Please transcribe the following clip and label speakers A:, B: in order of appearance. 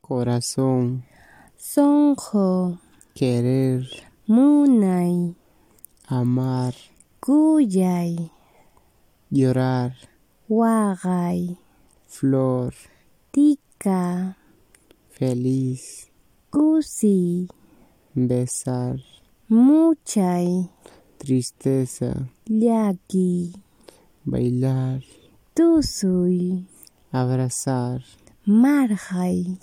A: corazón,
B: Sonjo,
A: querer,
B: Munay,
A: amar,
B: Kuyay,
A: llorar,
B: Wagay,
A: flor,
B: Tika,
A: feliz,
B: Kusi,
A: besar,
B: Muchay,
A: tristeza,
B: Yaki,
A: bailar,
B: Tusuy,
A: abrazar,
B: Marjay,